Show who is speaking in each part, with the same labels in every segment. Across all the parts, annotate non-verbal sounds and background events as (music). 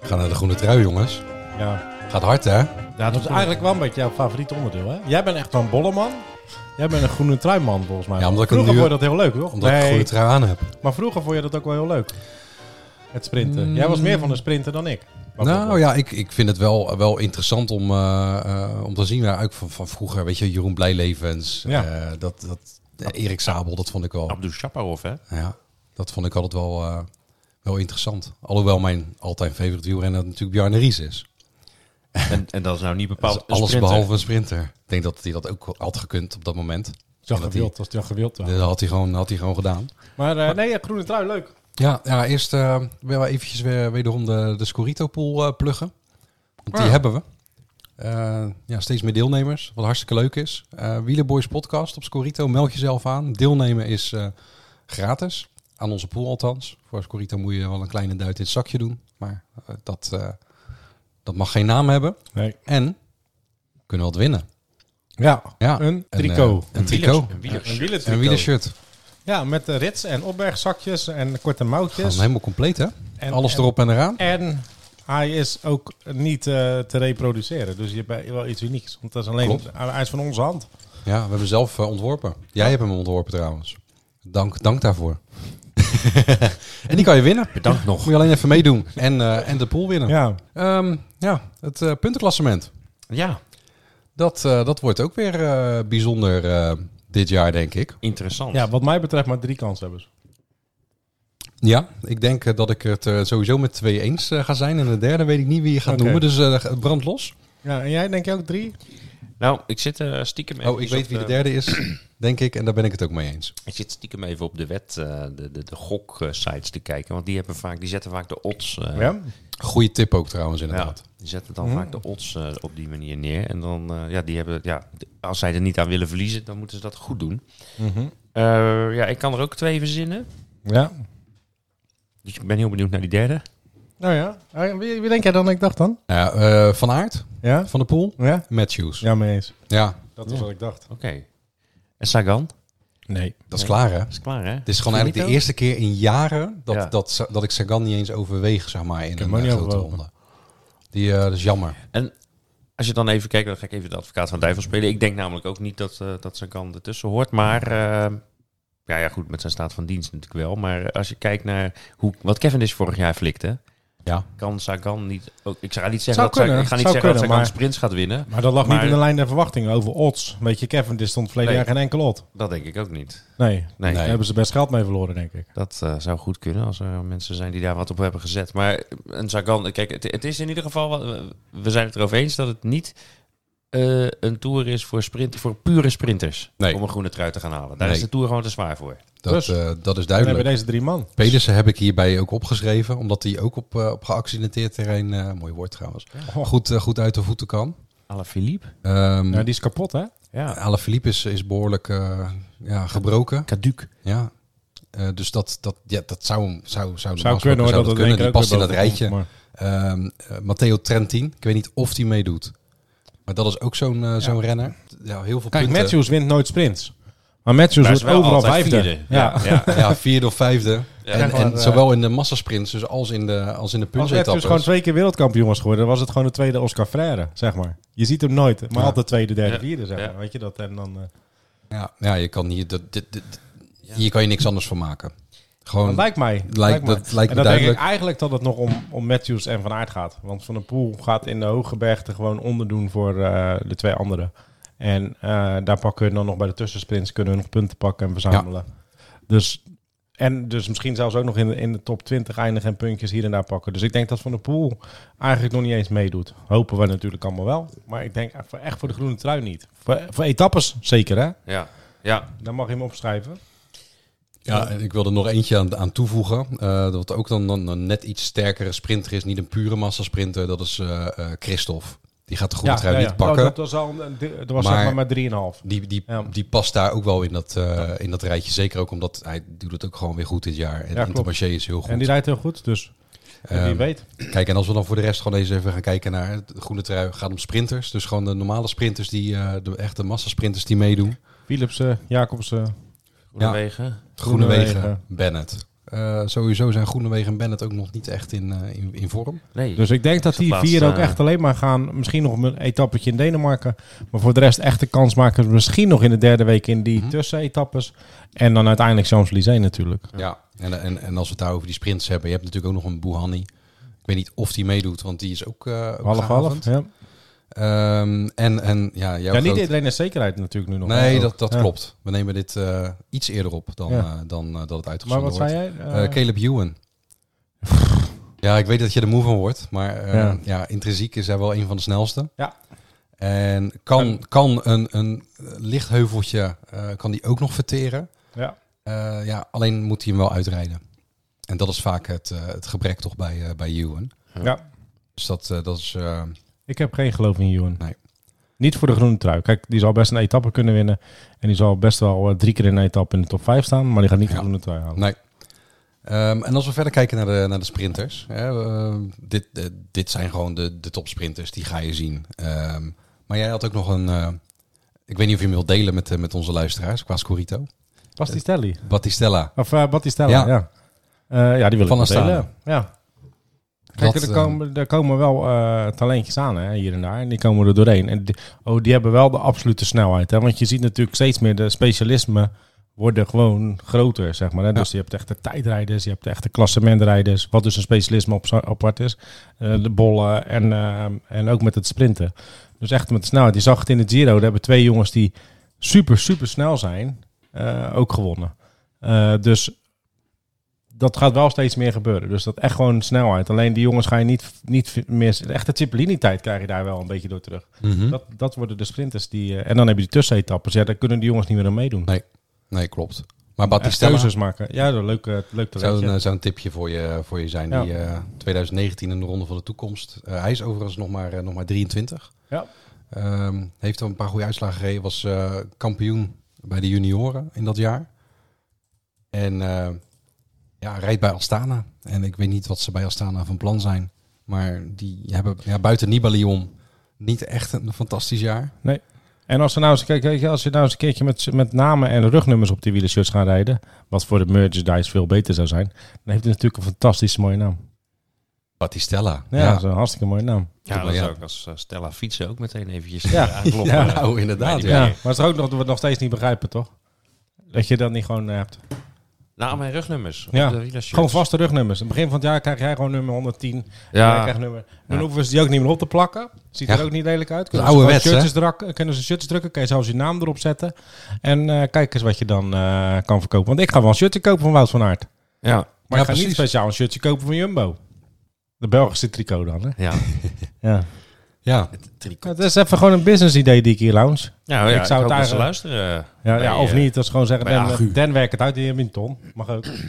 Speaker 1: We gaan naar de groene trui, jongens.
Speaker 2: Ja.
Speaker 1: Gaat hard, hè?
Speaker 2: ja, dat is eigenlijk wel een beetje jouw favoriet onderdeel, hè? Jij bent echt een bolleman. Jij bent een groene truiman, volgens mij.
Speaker 1: Ja, omdat ik
Speaker 2: vroeger
Speaker 1: een
Speaker 2: vond
Speaker 1: duur-
Speaker 2: je dat heel leuk, toch?
Speaker 1: Omdat ik een
Speaker 2: Nee,
Speaker 1: groene trui aan heb.
Speaker 2: maar vroeger vond je dat ook wel heel leuk. Het sprinten. Jij was meer van de sprinter dan ik.
Speaker 1: Mm. Nou ja, ik, ik vind het wel, wel interessant om, eh, eh, om te zien. Ja, ook van, van vroeger, weet je, Jeroen Blijlevens.
Speaker 2: Ja.
Speaker 1: eh, dat, dat, eh, Erik Sabel, dat vond ik wel.
Speaker 3: Abdou Shaparov, hè?
Speaker 1: Ja, dat vond ik altijd wel, eh, wel interessant. Alhoewel mijn altijd favorite wielrenner natuurlijk Bjarne Ries is.
Speaker 3: En, en dat is nou niet
Speaker 1: Dat
Speaker 3: bepaald
Speaker 1: is alles
Speaker 3: sprinter.
Speaker 1: behalve een sprinter. Ik denk dat hij dat ook had gekund op dat moment.
Speaker 2: Zo
Speaker 1: En dat
Speaker 2: gewild, als het wel gewild was.
Speaker 1: hij- Dat had hij gewoon, had hij gewoon gedaan.
Speaker 2: Maar eh, nee, ja, groene trui, leuk.
Speaker 1: Ja, ja eerst eh, willen we eventjes weer, wederom de, de Scorito-pool eh, pluggen. Want die
Speaker 2: Ja.
Speaker 1: hebben we. Eh, ja, steeds meer deelnemers, wat hartstikke leuk is. Eh Wielerboys podcast op Scorito, meld jezelf aan. Deelnemen is eh, gratis, aan onze pool althans. Voor Scorito moet je wel een kleine duit in het zakje doen. Maar eh, dat, eh, dat mag geen naam hebben.
Speaker 2: Nee.
Speaker 1: En kunnen we wat winnen.
Speaker 2: Ja,
Speaker 1: Ja.
Speaker 2: een
Speaker 1: Een, eh,
Speaker 2: tricot.
Speaker 1: Een
Speaker 3: wielers-
Speaker 1: tricot.
Speaker 3: Een wielers-
Speaker 2: een wielertricot.
Speaker 1: eh, Een wielershirt.
Speaker 2: Ja, met eh, rits en opbergzakjes en korte
Speaker 1: Gewoon
Speaker 2: mouwtjes.
Speaker 1: helemaal compleet hè?
Speaker 2: En-
Speaker 1: Alles
Speaker 2: en-
Speaker 1: erop en eraan.
Speaker 2: En hij is ook niet eh, te reproduceren. Dus je hebt wel iets unieks. Want dat is alleen,
Speaker 1: Klopt.
Speaker 2: hij is van onze hand.
Speaker 1: Ja, we hebben zelf eh, ontworpen. Jij hebt hem ontworpen trouwens. Dank, dank daarvoor. (laughs) en die kan je winnen.
Speaker 3: Bedankt
Speaker 1: Moet
Speaker 3: nog.
Speaker 1: je alleen even meedoen en, eh, en de pool winnen. Ja,
Speaker 2: Ja,
Speaker 1: ja het eh, puntenklassement.
Speaker 3: Ja,
Speaker 1: Dat, eh, dat wordt ook weer eh, bijzonder eh, dit jaar, denk ik.
Speaker 3: interessant.
Speaker 2: ja, wat mij betreft maar drie kanshebbers.
Speaker 1: Ja, ik denk eh, dat ik het eh, sowieso met twee eens eh, ga zijn. En de derde weet ik niet wie je gaat
Speaker 2: Oké.
Speaker 1: noemen. Dus eh brand los.
Speaker 2: Ja, en jij denk je ook drie?
Speaker 3: Nou, ik zit eh, stiekem
Speaker 1: Oh, ik
Speaker 3: eventjes
Speaker 1: weet
Speaker 3: op
Speaker 1: wie de derde is, (clears throat) denk ik. En daar ben ik het ook mee eens.
Speaker 3: Ik zit stiekem even op de wet, eh, de, de, de goksites te kijken. Want die, hebben vaak, die zetten vaak de odds. eh,
Speaker 2: Ja.
Speaker 1: Goeie tip ook trouwens,
Speaker 3: ja,
Speaker 1: inderdaad. Mhm.
Speaker 3: die zetten dan vaak de odds eh, op die manier neer. En dan, eh, ja, die hebben, ja, d- als zij er niet aan willen verliezen, dan moeten ze dat goed doen. Eh, ja, ik kan er ook twee verzinnen.
Speaker 2: Mhm. ja.
Speaker 3: Dus ik ben heel benieuwd naar die derde.
Speaker 2: Nou ja. Eh, Wie, wie denk jij dan dat ik dacht dan?
Speaker 1: Ja, eh, van Aert,
Speaker 2: Ja?
Speaker 1: van de pool.
Speaker 2: Ja?
Speaker 1: Matthews.
Speaker 2: Ja, mee eens.
Speaker 1: ja,
Speaker 2: Dat is wat ik dacht.
Speaker 3: Oké. En Sagan?
Speaker 2: Nee.
Speaker 1: Dat is klaar, hè?
Speaker 3: Dat is klaar, hè?
Speaker 1: Dit is gewoon eigenlijk de eerste keer in jaren dat,
Speaker 3: Ja.
Speaker 1: dat, dat ik Sagan niet eens overweeg, zeg maar, in
Speaker 2: heb
Speaker 1: een
Speaker 2: hem ook
Speaker 1: eh,
Speaker 2: niet
Speaker 1: grote
Speaker 2: overwogen.
Speaker 1: ronde. Die, eh, dat is jammer.
Speaker 3: En als je dan even kijkt, dan ga ik even de advocaat van de duivel spelen. Ik denk namelijk ook niet dat, eh dat Sagan ertussen hoort. Maar eh, ja, ja, goed, met zijn staat van dienst natuurlijk wel. Maar als je kijkt naar hoe, wat Kevin is vorig jaar flikte.
Speaker 1: Ja.
Speaker 3: Kan Sagan niet... Ook, ik ga niet zeggen,
Speaker 2: Zou
Speaker 3: dat, Sagan-
Speaker 2: kunnen,
Speaker 3: ik ga niet
Speaker 2: zou
Speaker 3: zeggen dat
Speaker 2: kunnen,
Speaker 3: Sagan
Speaker 2: maar-
Speaker 3: sprints gaat winnen.
Speaker 2: Maar dat lag niet
Speaker 3: Maar-
Speaker 2: in de lijn der verwachtingen over odds. Weet je, Kevin, dit stond verleden
Speaker 3: Nee.
Speaker 2: jaar geen enkel odd.
Speaker 3: Dat denk ik ook niet.
Speaker 2: Nee.
Speaker 3: Nee,
Speaker 1: Nee.
Speaker 2: Daar hebben ze best geld mee verloren, denk ik.
Speaker 3: dat eh, zou goed kunnen als er mensen zijn die daar wat op hebben gezet. Maar eh, een Sagan... Kijk, het, het is in ieder geval... wel- eh, We zijn het erover eens dat het niet... eh, een tour is voor, sprint, voor pure sprinters.
Speaker 1: Nee.
Speaker 3: Om een groene trui te gaan halen. Daar
Speaker 1: Nee.
Speaker 3: is de tour gewoon te zwaar voor.
Speaker 1: Dat,
Speaker 2: Dus-
Speaker 1: eh, dat is
Speaker 2: Dan hebben
Speaker 1: duidelijk.
Speaker 2: deze drie man.
Speaker 1: Pedersen heb ik hierbij ook opgeschreven, omdat hij ook op, eh, op geaccidenteerd terrein, eh, mooi woord trouwens, goed, eh, goed uit de voeten kan.
Speaker 3: Alle Philippe.
Speaker 1: Ehm
Speaker 2: Ja, die is kapot, hè?
Speaker 3: Ja.
Speaker 1: Alaphilippe is, is behoorlijk eh, ja, gebroken.
Speaker 3: Caduc.
Speaker 1: Ja. Eh, dus dat, dat, ja, dat zou, zou, zou,
Speaker 2: Zou kunnen hoor, dat, het in één
Speaker 1: Die
Speaker 2: keer ook
Speaker 1: past in
Speaker 2: weer
Speaker 1: dat rijtje.
Speaker 2: bovenkomt,
Speaker 1: Ehm, eh, Matteo Trentin. Ik weet niet of die meedoet. Maar dat is ook zo'n eh, zo'n renner. Ja, heel veel
Speaker 2: maar- Kijk,
Speaker 1: punten.
Speaker 2: Matthews wint nooit sprints. Maar Matthews wordt overal vijfde.
Speaker 3: (laughs) Ja. Ja.
Speaker 1: Ja, vierde of vijfde. en
Speaker 2: maar,
Speaker 1: en
Speaker 2: eh,
Speaker 1: zowel in de massasprints dus als in de, als in de
Speaker 2: Als Matthews
Speaker 1: puntetappes.
Speaker 2: gewoon twee keer wereldkampioen was geworden, dan was het gewoon de tweede Oscar Freire, zeg maar. Je ziet hem nooit, maar
Speaker 1: Ja.
Speaker 2: altijd tweede, derde,
Speaker 3: Ja.
Speaker 2: vierde, zeg
Speaker 3: Ja.
Speaker 2: maar. Weet je dat? En dan, eh,
Speaker 1: Ja, ja, je kan hier, dat, dit, dit- hier kan je niks anders van maken.
Speaker 2: dat
Speaker 1: Gewoon,
Speaker 2: lijkt mij.
Speaker 1: lijkt- dat
Speaker 2: mij.
Speaker 1: lijkt
Speaker 2: en
Speaker 1: me
Speaker 2: dan denk ik
Speaker 1: duidelijk.
Speaker 2: eigenlijk dat het nog om, om Matthews en Van Aert gaat. Want Van der Poel gaat in de hoge bergte gewoon onderdoen voor eh, de twee anderen. En eh, daar pakken we dan nog bij de tussensprints, kunnen we nog punten pakken en verzamelen. Dus En dus misschien zelfs ook nog in de, in de top 20 eindigen en puntjes hier en daar pakken. Dus ik denk dat Van der Poel eigenlijk nog niet eens meedoet. Hopen we natuurlijk allemaal wel. Maar ik denk echt voor- echt voor de groene trui niet. Voor, voor etappes zeker, hè?
Speaker 3: Ja, ja.
Speaker 2: Dan mag je hem opschrijven.
Speaker 1: Ja, en ik wil er nog eentje aan, aan toevoegen. eh, dat ook dan, dan een net iets sterkere sprinter is. Niet een pure massasprinter. Dat is eh eh, Christophe. Die gaat de groene trui niet
Speaker 2: Nou,
Speaker 1: pakken.
Speaker 2: dat was al een, er was
Speaker 1: Maar-
Speaker 2: zeg maar maar 3,5.
Speaker 1: Die, die,
Speaker 2: Ja.
Speaker 1: die past daar ook wel in dat, eh, in dat rijtje. Zeker ook omdat hij doet het ook gewoon weer goed dit jaar. En
Speaker 2: klopt.
Speaker 1: Intermarché is heel goed.
Speaker 2: En die rijdt heel goed, dus en wie
Speaker 1: Ehm,
Speaker 2: weet.
Speaker 1: Kijk, en als we dan voor de rest gewoon eens even gaan kijken naar de groene trui. Gaat om sprinters. Dus gewoon de normale sprinters, die, eh, de echte massasprinters die meedoen.
Speaker 2: Philipsen, Jacobsen.
Speaker 3: Goede wegen.
Speaker 1: Groenewegen,
Speaker 2: Groenewegen.
Speaker 1: Bennett. Eh, sowieso zijn Groenewegen en Bennett ook nog niet echt in, eh, in, in vorm.
Speaker 3: Nee.
Speaker 2: Dus ik denk dat die
Speaker 3: Geplaatst,
Speaker 2: vier ook
Speaker 3: eh,
Speaker 2: echt alleen maar gaan. Misschien nog een etappetje in Denemarken. Maar voor de rest echte kansmakers. Misschien nog in de derde week in die
Speaker 1: Mhm.
Speaker 2: tussenetappes. En dan uiteindelijk Champs-Élysées natuurlijk.
Speaker 1: Ja. En, en, en als we het daar over die sprints hebben. Je hebt natuurlijk ook nog een Bouhanni. Ik weet niet of die meedoet, want die is ook, eh ook
Speaker 2: Half half.
Speaker 1: gehavend.
Speaker 2: Ja.
Speaker 1: Ehm, en, en ja, jouw
Speaker 2: ja, niet
Speaker 1: grote-
Speaker 2: iedereen is zekerheid natuurlijk nu nog.
Speaker 1: Nee,
Speaker 2: hè,
Speaker 1: dat,
Speaker 2: ook.
Speaker 1: dat
Speaker 2: Ja.
Speaker 1: klopt. We nemen dit eh, iets eerder op dan,
Speaker 2: Ja.
Speaker 1: eh, dan eh, dat het
Speaker 2: Maar
Speaker 1: uitgezonden
Speaker 2: wat
Speaker 1: wordt.
Speaker 2: zei jij? Eh,
Speaker 1: Eh, Caleb
Speaker 2: (laughs)
Speaker 1: Ewan. ja, ik weet dat je er moe van wordt, maar eh, ja.
Speaker 2: Ja.
Speaker 1: intrinsiek is hij wel een van de snelste.
Speaker 2: Ja.
Speaker 1: En kan, kan een, een licht heuveltje eh, kan die ook nog verteren.
Speaker 2: ja.
Speaker 1: Eh, ja, alleen moet hij hem wel uitrijden. En dat is vaak het, eh, het gebrek toch bij, eh, bij Ewan.
Speaker 2: Ja.
Speaker 1: Dus dat, eh, dat is... eh,
Speaker 2: Ik heb geen geloof in Ewan.
Speaker 1: Nee.
Speaker 2: Niet voor de groene trui. Kijk, die zal best een etappe kunnen winnen. En die zal best wel eh, drie keer in een etappe in de top 5 staan. Maar die gaat niet
Speaker 1: Ja.
Speaker 2: de groene trui halen.
Speaker 1: Nee. Ehm, en als we verder kijken naar de, naar de sprinters. Hè, ehm, dit, eh, dit zijn gewoon de, de topsprinters, die ga je zien. Ehm, maar jij had ook nog een... eh, ik weet niet of je hem wilt delen met, eh, met onze luisteraars qua Scorito.
Speaker 2: Bastistelli.
Speaker 1: Battistella.
Speaker 2: Of eh Battistella,
Speaker 1: Ja.
Speaker 2: ja. Ja. Eh, ja, die wil
Speaker 1: Van
Speaker 2: ik wel
Speaker 1: Astana.
Speaker 2: delen. Ja. Kijk,
Speaker 1: Dat,
Speaker 2: er,
Speaker 1: eh,
Speaker 2: komen, er komen wel eh, talentjes aan hè, hier en daar. En die komen er doorheen. En die, oh, die hebben wel de absolute snelheid. Hè, want je ziet natuurlijk steeds meer de specialismen worden gewoon groter, zeg maar. Hè. Dus je hebt echt de tijdrijders, je hebt de echte klassementrijders... wat dus een specialisme op, apart is. Eh, de bollen en, eh, en ook met het sprinten. Dus echt met de snelheid. Je zag het in de Giro. Daar hebben twee jongens die super, super snel zijn... eh, ook gewonnen. Eh, dus dat gaat wel steeds meer gebeuren. Dus dat echt gewoon snelheid. Alleen die jongens ga je niet, niet meer... De echte Cipollini-tijd krijg je daar wel een beetje door terug.
Speaker 1: Hm?
Speaker 2: Dat, dat worden de sprinters die... eh, en dan heb je die tussenetappes. Ja, daar kunnen die jongens niet meer aan meedoen.
Speaker 1: Nee, Nee, klopt. Maar
Speaker 2: Echt
Speaker 1: Battistella
Speaker 2: keuzes maken. Ja, dat leuk, eh, leuk te
Speaker 1: zou een, eh,
Speaker 2: weten.
Speaker 1: zou een tipje voor je, voor je zijn.
Speaker 2: Ja.
Speaker 1: Die eh, 2019 in de Ronde van de Toekomst. Eh, hij is overigens nog maar, eh, nog maar 23.
Speaker 2: Ja.
Speaker 1: Ehm, heeft al een paar goede uitslagen gereden. Was eh, kampioen bij de junioren in dat jaar. En eh, ja, rijdt bij Astana. En ik weet niet wat ze bij Astana van plan zijn. Maar die hebben ja, buiten Nibali om niet echt een fantastisch jaar.
Speaker 2: En als, ze nou eens, kijk, kijk, als je nou eens een keertje met, met namen en rugnummers op die wielershirts gaan rijden... wat voor de merchandise veel beter zou zijn... dan heeft hij natuurlijk een fantastisch mooie naam.
Speaker 1: Battistella.
Speaker 2: Ja, dat is een hartstikke mooie naam.
Speaker 3: ja, dat
Speaker 1: Ja.
Speaker 3: zou ik als eh, Stella fietsen ook meteen eventjes
Speaker 2: Ja.
Speaker 3: eh, aankloppen.
Speaker 1: (laughs) Ja, nou inderdaad.
Speaker 3: Ja.
Speaker 2: Ja,
Speaker 1: Ja.
Speaker 2: maar het is ook nog, dat we het nog steeds niet begrijpen, toch? Dat je dat niet gewoon eh, hebt.
Speaker 3: Naam en nou, rugnummers. op
Speaker 2: Ja.
Speaker 3: de wielershirts.
Speaker 2: Gewoon vaste rugnummers. Aan het begin van het jaar krijg jij gewoon nummer 110. Ja.
Speaker 3: Ja,
Speaker 2: krijgt nummer. Dan
Speaker 3: Ja.
Speaker 2: hoeven ze die ook niet meer op te plakken. Ziet
Speaker 1: Ja.
Speaker 2: er ook niet lelijk uit. Kunnen ze
Speaker 1: oude
Speaker 2: gewoon
Speaker 1: wets, hè?
Speaker 2: shirtjes drakken, kunnen ze shirts drukken, kun je zelfs je naam erop zetten. En eh, kijk eens wat je dan eh, kan verkopen. Want ik ga wel een shirtje kopen van Wout van Aert.
Speaker 3: ja,
Speaker 1: Ja,
Speaker 2: Maar ik ga
Speaker 1: precies.
Speaker 2: niet speciaal een shirtje kopen van Jumbo. De Belgische tricot dan, hè?
Speaker 3: ja.
Speaker 2: Ja.
Speaker 1: ja.
Speaker 3: Tricot.
Speaker 2: Het is even gewoon een business idee die ik hier lounge.
Speaker 3: Nou, ja, ik zou het
Speaker 2: daar-
Speaker 3: eigenlijk luisteren.
Speaker 2: Ja, ja
Speaker 3: Bij,
Speaker 2: of
Speaker 3: eh,
Speaker 2: niet. Dat is gewoon zeggen,
Speaker 3: bij Agu.
Speaker 2: Dan, dan werk het uit. Die hebben een ton. Mag
Speaker 1: (clears throat)
Speaker 2: ook. Vind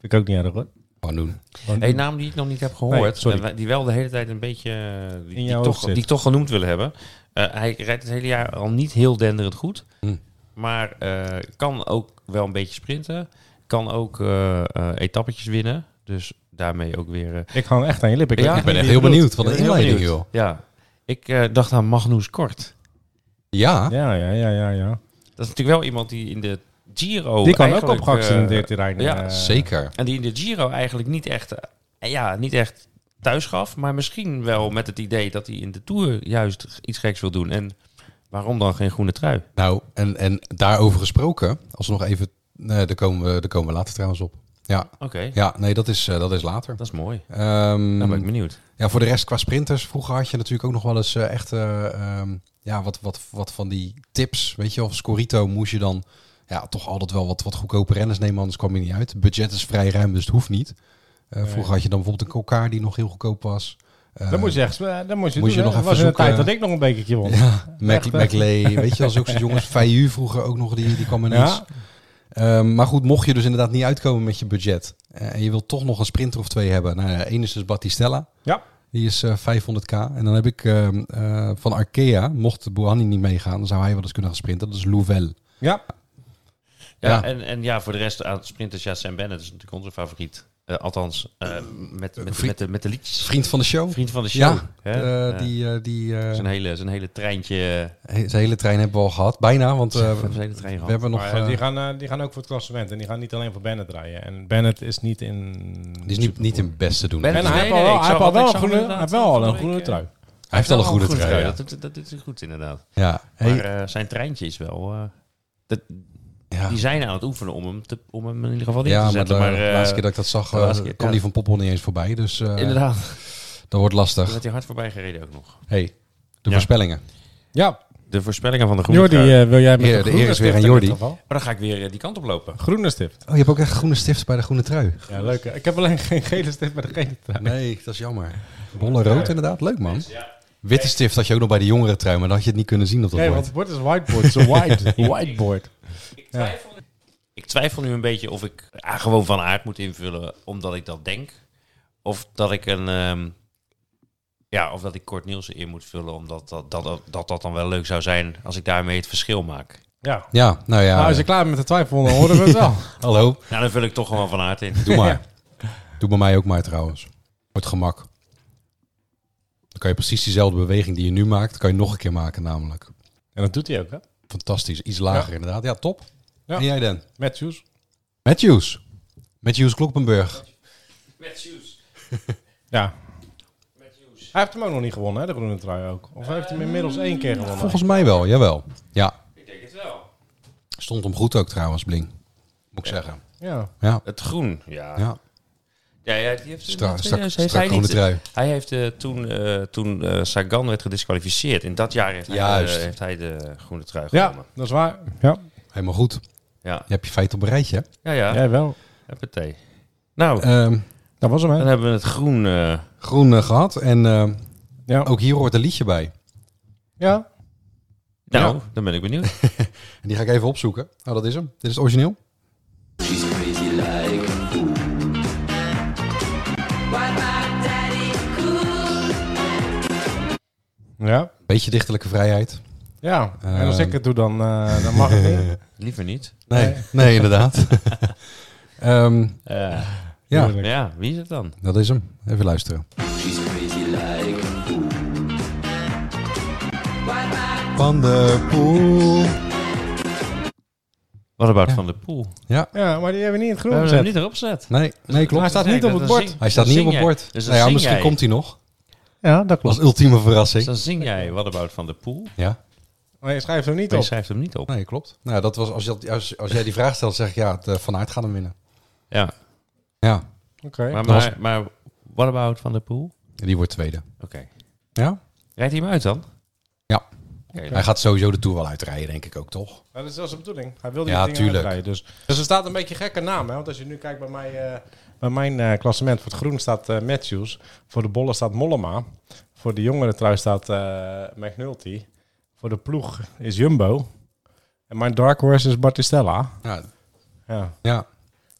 Speaker 2: ik ook niet erg, hoor.
Speaker 1: Gewoon doen.
Speaker 3: Een naam die ik nog niet heb gehoord,
Speaker 2: Nee, sorry.
Speaker 3: en die wel de hele tijd een beetje eh, die, die
Speaker 2: jouw
Speaker 3: toch,
Speaker 2: hoofd zit.
Speaker 3: die ik toch genoemd willen hebben. Eh, hij rijdt het hele jaar al niet heel denderend goed,
Speaker 1: Hm.
Speaker 3: maar eh, kan ook wel een beetje sprinten, kan ook eh, eh, etappetjes winnen, dus daarmee ook weer. eh,
Speaker 2: Ik hang echt aan je lip. Ik,
Speaker 3: Ja,
Speaker 2: weet
Speaker 1: Ik ben
Speaker 2: niet
Speaker 1: echt
Speaker 2: wie
Speaker 1: heel
Speaker 2: het
Speaker 1: benieuwd.
Speaker 2: bedoelt.
Speaker 1: Wat
Speaker 3: Ik
Speaker 1: een
Speaker 3: ben heel
Speaker 1: inleiding,
Speaker 3: benieuwd.
Speaker 1: joh.
Speaker 3: ja, ik eh, dacht aan Magnus Kort.
Speaker 1: Ja.
Speaker 2: Ja, ja, ja, ja, ja.
Speaker 3: Dat is natuurlijk wel iemand die in de Giro
Speaker 2: die kan ook
Speaker 3: eigenlijk,
Speaker 2: op geaccidenteerd
Speaker 3: eh,
Speaker 2: terrein.
Speaker 3: ja,
Speaker 2: eh,
Speaker 1: Zeker.
Speaker 3: en die in de Giro eigenlijk niet echt, eh, ja, niet echt thuis gaf. Maar misschien wel met het idee dat hij in de Tour juist iets geks wil doen. En waarom dan geen groene trui?
Speaker 1: Nou, en, en daarover gesproken, als we nog even. Nee, daar, komen we, daar komen we later trouwens op. Ja,
Speaker 3: Oké,
Speaker 1: ja nee, dat is, eh, dat is later.
Speaker 3: dat is mooi.
Speaker 1: Ehm,
Speaker 3: Nou ben ik benieuwd.
Speaker 1: ja, voor de rest, qua sprinters. Vroeger had je natuurlijk ook nog wel eens eh, echt. eh, ehm, ja, wat, wat, wat van die tips. Weet je, of Scorito moest je dan ja, toch altijd wel wat, wat goedkope renners nemen, anders kwam je niet uit. Budget is vrij ruim, dus het hoeft niet. Eh,
Speaker 2: Nee.
Speaker 1: Vroeger had je dan bijvoorbeeld een Kokar die nog heel goedkoop was. Eh,
Speaker 2: Dat moest je echt, eh, dat moest je
Speaker 1: Moest
Speaker 2: doen,
Speaker 1: je nog
Speaker 2: hè. Dat
Speaker 1: even
Speaker 2: was in de
Speaker 1: zoeken.
Speaker 2: tijd dat ik nog een bekertje won.
Speaker 1: Ja, Mac-
Speaker 2: Echt, hè?
Speaker 1: McLay, weet
Speaker 2: (laughs)
Speaker 1: je, als ook soort jongens. Fayu vroeger ook nog, die, die kwam ineens.
Speaker 2: Ja.
Speaker 1: Ehm, maar goed, mocht je dus inderdaad niet uitkomen met je budget eh, en je wilt toch nog een sprinter of twee hebben. Nou, één is dus Battistella.
Speaker 2: Ja.
Speaker 1: Die is eh, 500k. En dan heb ik ehm, eh, van Arkea, mocht Bohani niet meegaan, dan zou hij wel eens kunnen gaan sprinten. Dat is Louvel.
Speaker 2: Ja,
Speaker 3: Ja,
Speaker 1: Ja.
Speaker 3: En, en ja, voor de rest aan sprinters, ja, Sam Bennett is natuurlijk onze favoriet. Eh, althans, eh, met, met,
Speaker 1: Vriend-
Speaker 3: met, de, met de liedjes.
Speaker 1: Vriend van de show.
Speaker 3: Vriend van de show.
Speaker 1: Ja,
Speaker 3: hè?
Speaker 1: Eh,
Speaker 3: Ja.
Speaker 1: die, eh, die, eh,
Speaker 3: zijn, hele, zijn hele treintje.
Speaker 1: he- zijn hele trein hebben we al gehad. Bijna, want eh,
Speaker 3: (laughs) zijn hele trein
Speaker 1: we
Speaker 3: gehad.
Speaker 1: hebben nog...
Speaker 2: maar eh,
Speaker 1: eh,
Speaker 2: die, gaan, eh, die gaan ook voor het klassement. En die gaan niet alleen voor Bennett draaien. En Bennett is niet in...
Speaker 1: die is niet, niet in best te doen.
Speaker 3: Ben-
Speaker 2: En
Speaker 3: Nee,
Speaker 2: hij heeft al
Speaker 3: nee,
Speaker 2: wel-
Speaker 3: ik
Speaker 2: hij
Speaker 3: zag
Speaker 2: heeft al
Speaker 3: wat, ik
Speaker 2: wel een
Speaker 3: zag
Speaker 2: groene- hij
Speaker 3: inderdaad
Speaker 2: heeft wel
Speaker 3: van
Speaker 2: al een
Speaker 3: de
Speaker 2: groene
Speaker 3: week,
Speaker 2: trui.
Speaker 1: hij heeft al een goede
Speaker 3: Goed,
Speaker 1: trein. Ja.
Speaker 3: dat, dat, dat is goed inderdaad.
Speaker 1: Ja. Hey,
Speaker 3: Maar eh, zijn treintje is wel... eh, dat,
Speaker 1: ja.
Speaker 3: Die zijn aan het oefenen om hem, te, om hem in ieder geval in
Speaker 1: Ja,
Speaker 3: te
Speaker 1: maar de
Speaker 3: zetten. Maar, eh,
Speaker 1: laatste keer dat ik dat zag,
Speaker 3: de
Speaker 1: eh,
Speaker 3: laatste keer,
Speaker 1: kwam
Speaker 3: ja.
Speaker 1: die van Poppel niet eens voorbij. Dus eh,
Speaker 3: Inderdaad,
Speaker 1: dat wordt
Speaker 3: daar
Speaker 1: lastig.
Speaker 3: werd hij hard voorbij gereden ook nog.
Speaker 1: hey, de
Speaker 3: Ja.
Speaker 1: voorspellingen.
Speaker 2: Ja,
Speaker 3: De voorspellingen van de groene
Speaker 2: Jordi,
Speaker 3: trui.
Speaker 2: eh, wil jij met
Speaker 1: Hier,
Speaker 2: de
Speaker 1: de
Speaker 2: groene
Speaker 1: eer is weer
Speaker 2: stift
Speaker 1: aan
Speaker 2: in
Speaker 1: Jordi.
Speaker 2: dit geval?
Speaker 3: Maar dan ga ik weer eh, die kant op lopen.
Speaker 2: Groene stift.
Speaker 1: Oh, je hebt ook echt groene stift bij de groene trui.
Speaker 2: Ja, leuk. hè. Ik heb alleen geen gele stift, maar de gele trui.
Speaker 1: Nee, dat is jammer. Bolle rood inderdaad, leuk man. Witte stift had je ook nog bij de jongere trui, maar dan had je het niet kunnen zien op dat
Speaker 2: Nee, want
Speaker 1: bord.
Speaker 2: het bord is whiteboard. Het is een white, whiteboard.
Speaker 3: Ik twijfel, ik twijfel nu een beetje of ik ah, gewoon van aard moet invullen omdat ik dat denk. Of dat ik een. ehm, ja, of dat ik Kort Nielsen in moet vullen omdat dat dat, dat, dat, dat dan wel leuk zou zijn als ik daarmee het verschil maak.
Speaker 2: Ja.
Speaker 1: Ja, nou ja.
Speaker 2: Nou, als je klaar bent met de twijfel, dan horen we
Speaker 1: (laughs)
Speaker 2: het wel.
Speaker 1: Hallo,
Speaker 3: Nou, dan vul ik toch gewoon van aard in.
Speaker 1: doe maar. Doe bij mij ook maar trouwens. Voor het gemak. Dan kan je precies diezelfde beweging die je nu maakt, kan je nog een keer maken namelijk.
Speaker 2: En dat doet hij ook, hè?
Speaker 1: Fantastisch, iets lager inderdaad. Ja, top.
Speaker 2: Ja.
Speaker 1: En jij dan?
Speaker 2: Matthews.
Speaker 1: Matthews. Matthews Kloppenburg.
Speaker 3: Matthews.
Speaker 2: Ja. Hij heeft hem ook nog niet gewonnen, hè, de groene trui ook. Of hij heeft hem inmiddels één keer gewonnen.
Speaker 1: Volgens mij wel, jawel. Ja,
Speaker 3: Ik denk het wel.
Speaker 1: stond hem goed ook trouwens, Bling. Moet ik zeggen.
Speaker 2: Ja.
Speaker 1: Ja,
Speaker 3: Het groen, ja.
Speaker 1: ja.
Speaker 3: Ja, ja, die heeft
Speaker 1: Stra
Speaker 3: in
Speaker 1: strak,
Speaker 3: 2000
Speaker 1: strak
Speaker 3: heeft hij
Speaker 1: groene
Speaker 3: niet-
Speaker 1: trui.
Speaker 3: Hij heeft eh, toen, eh, toen eh, Sagan werd gedisqualificeerd. In dat jaar heeft hij,
Speaker 1: Juist.
Speaker 3: de, heeft hij de groene trui
Speaker 2: ja,
Speaker 3: gewonnen.
Speaker 2: dat is waar. Ja,
Speaker 1: Helemaal goed.
Speaker 3: Ja,
Speaker 1: Je hebt je feit op een rijtje.
Speaker 3: ja, ja.
Speaker 2: jij wel.
Speaker 3: Huppatee. Nou,
Speaker 1: Ehm,
Speaker 2: Dat was hem,
Speaker 3: dan
Speaker 2: hè?
Speaker 3: hebben we het groen. eh,
Speaker 1: groen eh, gehad. En ehm,
Speaker 2: Ja.
Speaker 1: ook hier hoort een liedje bij.
Speaker 2: ja.
Speaker 3: nou, dan ben ik benieuwd. (laughs)
Speaker 1: En die ga ik even opzoeken. Oh, dat is hem. Dit is het origineel.
Speaker 4: She's crazy like ooh.
Speaker 5: Why my daddy cool?
Speaker 2: Ja.
Speaker 1: Beetje dichterlijke vrijheid.
Speaker 2: Ja. En als
Speaker 1: Ehm.
Speaker 2: ik het doe, dan, eh, dan mag het
Speaker 3: (laughs)
Speaker 2: niet.
Speaker 3: Liever niet.
Speaker 1: Nee, nee inderdaad. Ehm,
Speaker 3: Eh,
Speaker 1: ja,
Speaker 2: Tuurlijk.
Speaker 3: ja, wie is het dan?
Speaker 1: dat is hem. Even luisteren.
Speaker 4: She's crazy like ooh.
Speaker 1: Van de Poel.
Speaker 3: Wat about Van der Poel?
Speaker 1: Ja,
Speaker 2: Ja, maar die hebben we niet in het
Speaker 3: We
Speaker 2: groen
Speaker 3: hebben hem
Speaker 2: gezet.
Speaker 3: niet erop gezet.
Speaker 1: nee, nee klopt.
Speaker 2: Hij staat niet op het
Speaker 3: Dan
Speaker 2: bord.
Speaker 3: zing-
Speaker 1: Hij staat
Speaker 3: dan
Speaker 1: niet op het
Speaker 3: zing jij.
Speaker 1: bord.
Speaker 3: Dus dan
Speaker 1: nou ja,
Speaker 3: zing
Speaker 1: misschien
Speaker 3: jij.
Speaker 1: komt hij nog.
Speaker 2: Ja, dat
Speaker 1: Als ultieme verrassing.
Speaker 3: Dus dan zing jij Wat about Van der Poel. Maar
Speaker 1: Ja,
Speaker 2: Maar je schrijft hem niet
Speaker 3: je
Speaker 2: op.
Speaker 3: schrijft hem niet op.
Speaker 1: nee, klopt. Nou, dat was, als, je, dat- als, als jij die vraag stelt, zeg ik ja, het, eh, Van Aert gaat hem winnen.
Speaker 3: Ja,
Speaker 1: Ja,
Speaker 2: Oké.
Speaker 3: maar,
Speaker 1: Dat was-
Speaker 3: maar, maar What about Van der Poel?
Speaker 1: die wordt tweede.
Speaker 3: Oké.
Speaker 1: Ja?
Speaker 3: Rijdt hij hem uit dan?
Speaker 1: Ja.
Speaker 3: Oké.
Speaker 1: Hij gaat sowieso de Tour wel uitrijden, denk ik ook, toch?
Speaker 2: Maar dat is wel zijn bedoeling. Hij wilde
Speaker 1: Ja,
Speaker 2: ja, dingen
Speaker 1: tuurlijk.
Speaker 2: uitrijden. Dus. dus er staat een beetje een gekke naam. Hè? Want als je nu kijkt bij, mij, eh, bij mijn eh, klassement. Voor het groen staat eh, Matthews. Voor de bollen staat Mollema. Voor de jongere trui staat eh, McNulty. Voor de ploeg is Jumbo. En mijn dark horse is Battistella.
Speaker 1: Ja,
Speaker 2: Ja.
Speaker 1: ja.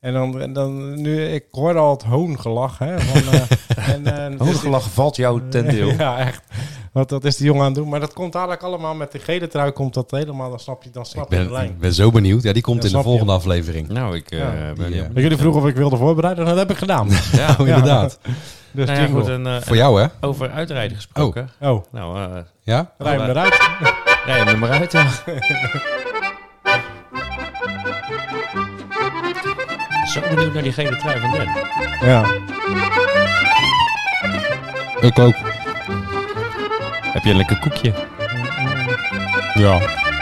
Speaker 2: En dan, en dan nu, ik hoorde al het hoongelach. Hè, van, eh,
Speaker 1: (laughs)
Speaker 2: en, eh, dus die-
Speaker 3: Hooggelach valt jou ten deel.
Speaker 2: (laughs) ja, echt. Want dat is die jongen aan het doen. Maar dat komt eigenlijk allemaal met de gele trui. Komt dat helemaal, dan snap je, dan snap
Speaker 1: Ik
Speaker 2: je de
Speaker 1: ben,
Speaker 2: lijn.
Speaker 1: ik ben zo benieuwd. Ja, die komt in de
Speaker 2: Ja, snap je.
Speaker 1: volgende aflevering.
Speaker 3: Nou, ik eh,
Speaker 2: Ja,
Speaker 3: ben
Speaker 1: die,
Speaker 3: heel
Speaker 1: eh,
Speaker 2: Dat jullie vroegen of ik wilde voorbereiden, dat heb ik (laughs)
Speaker 1: (laughs)
Speaker 2: gedaan. Dus
Speaker 3: benieuwd. Ja.
Speaker 1: Oh, inderdaad.
Speaker 3: Nou ja,
Speaker 2: jingle.
Speaker 3: goed, en, eh,
Speaker 1: Voor jou, hè?
Speaker 3: over uitrijden gesproken.
Speaker 2: Oh,
Speaker 3: Nou, eh
Speaker 1: Ja?
Speaker 2: rij hem eruit.
Speaker 3: rij hem er maar uit. ja. Zo benieuwd naar die gele trui van Den.
Speaker 2: Ja.
Speaker 1: Ik ook.
Speaker 3: Oh, Heb je een lekker koekje?
Speaker 2: ja.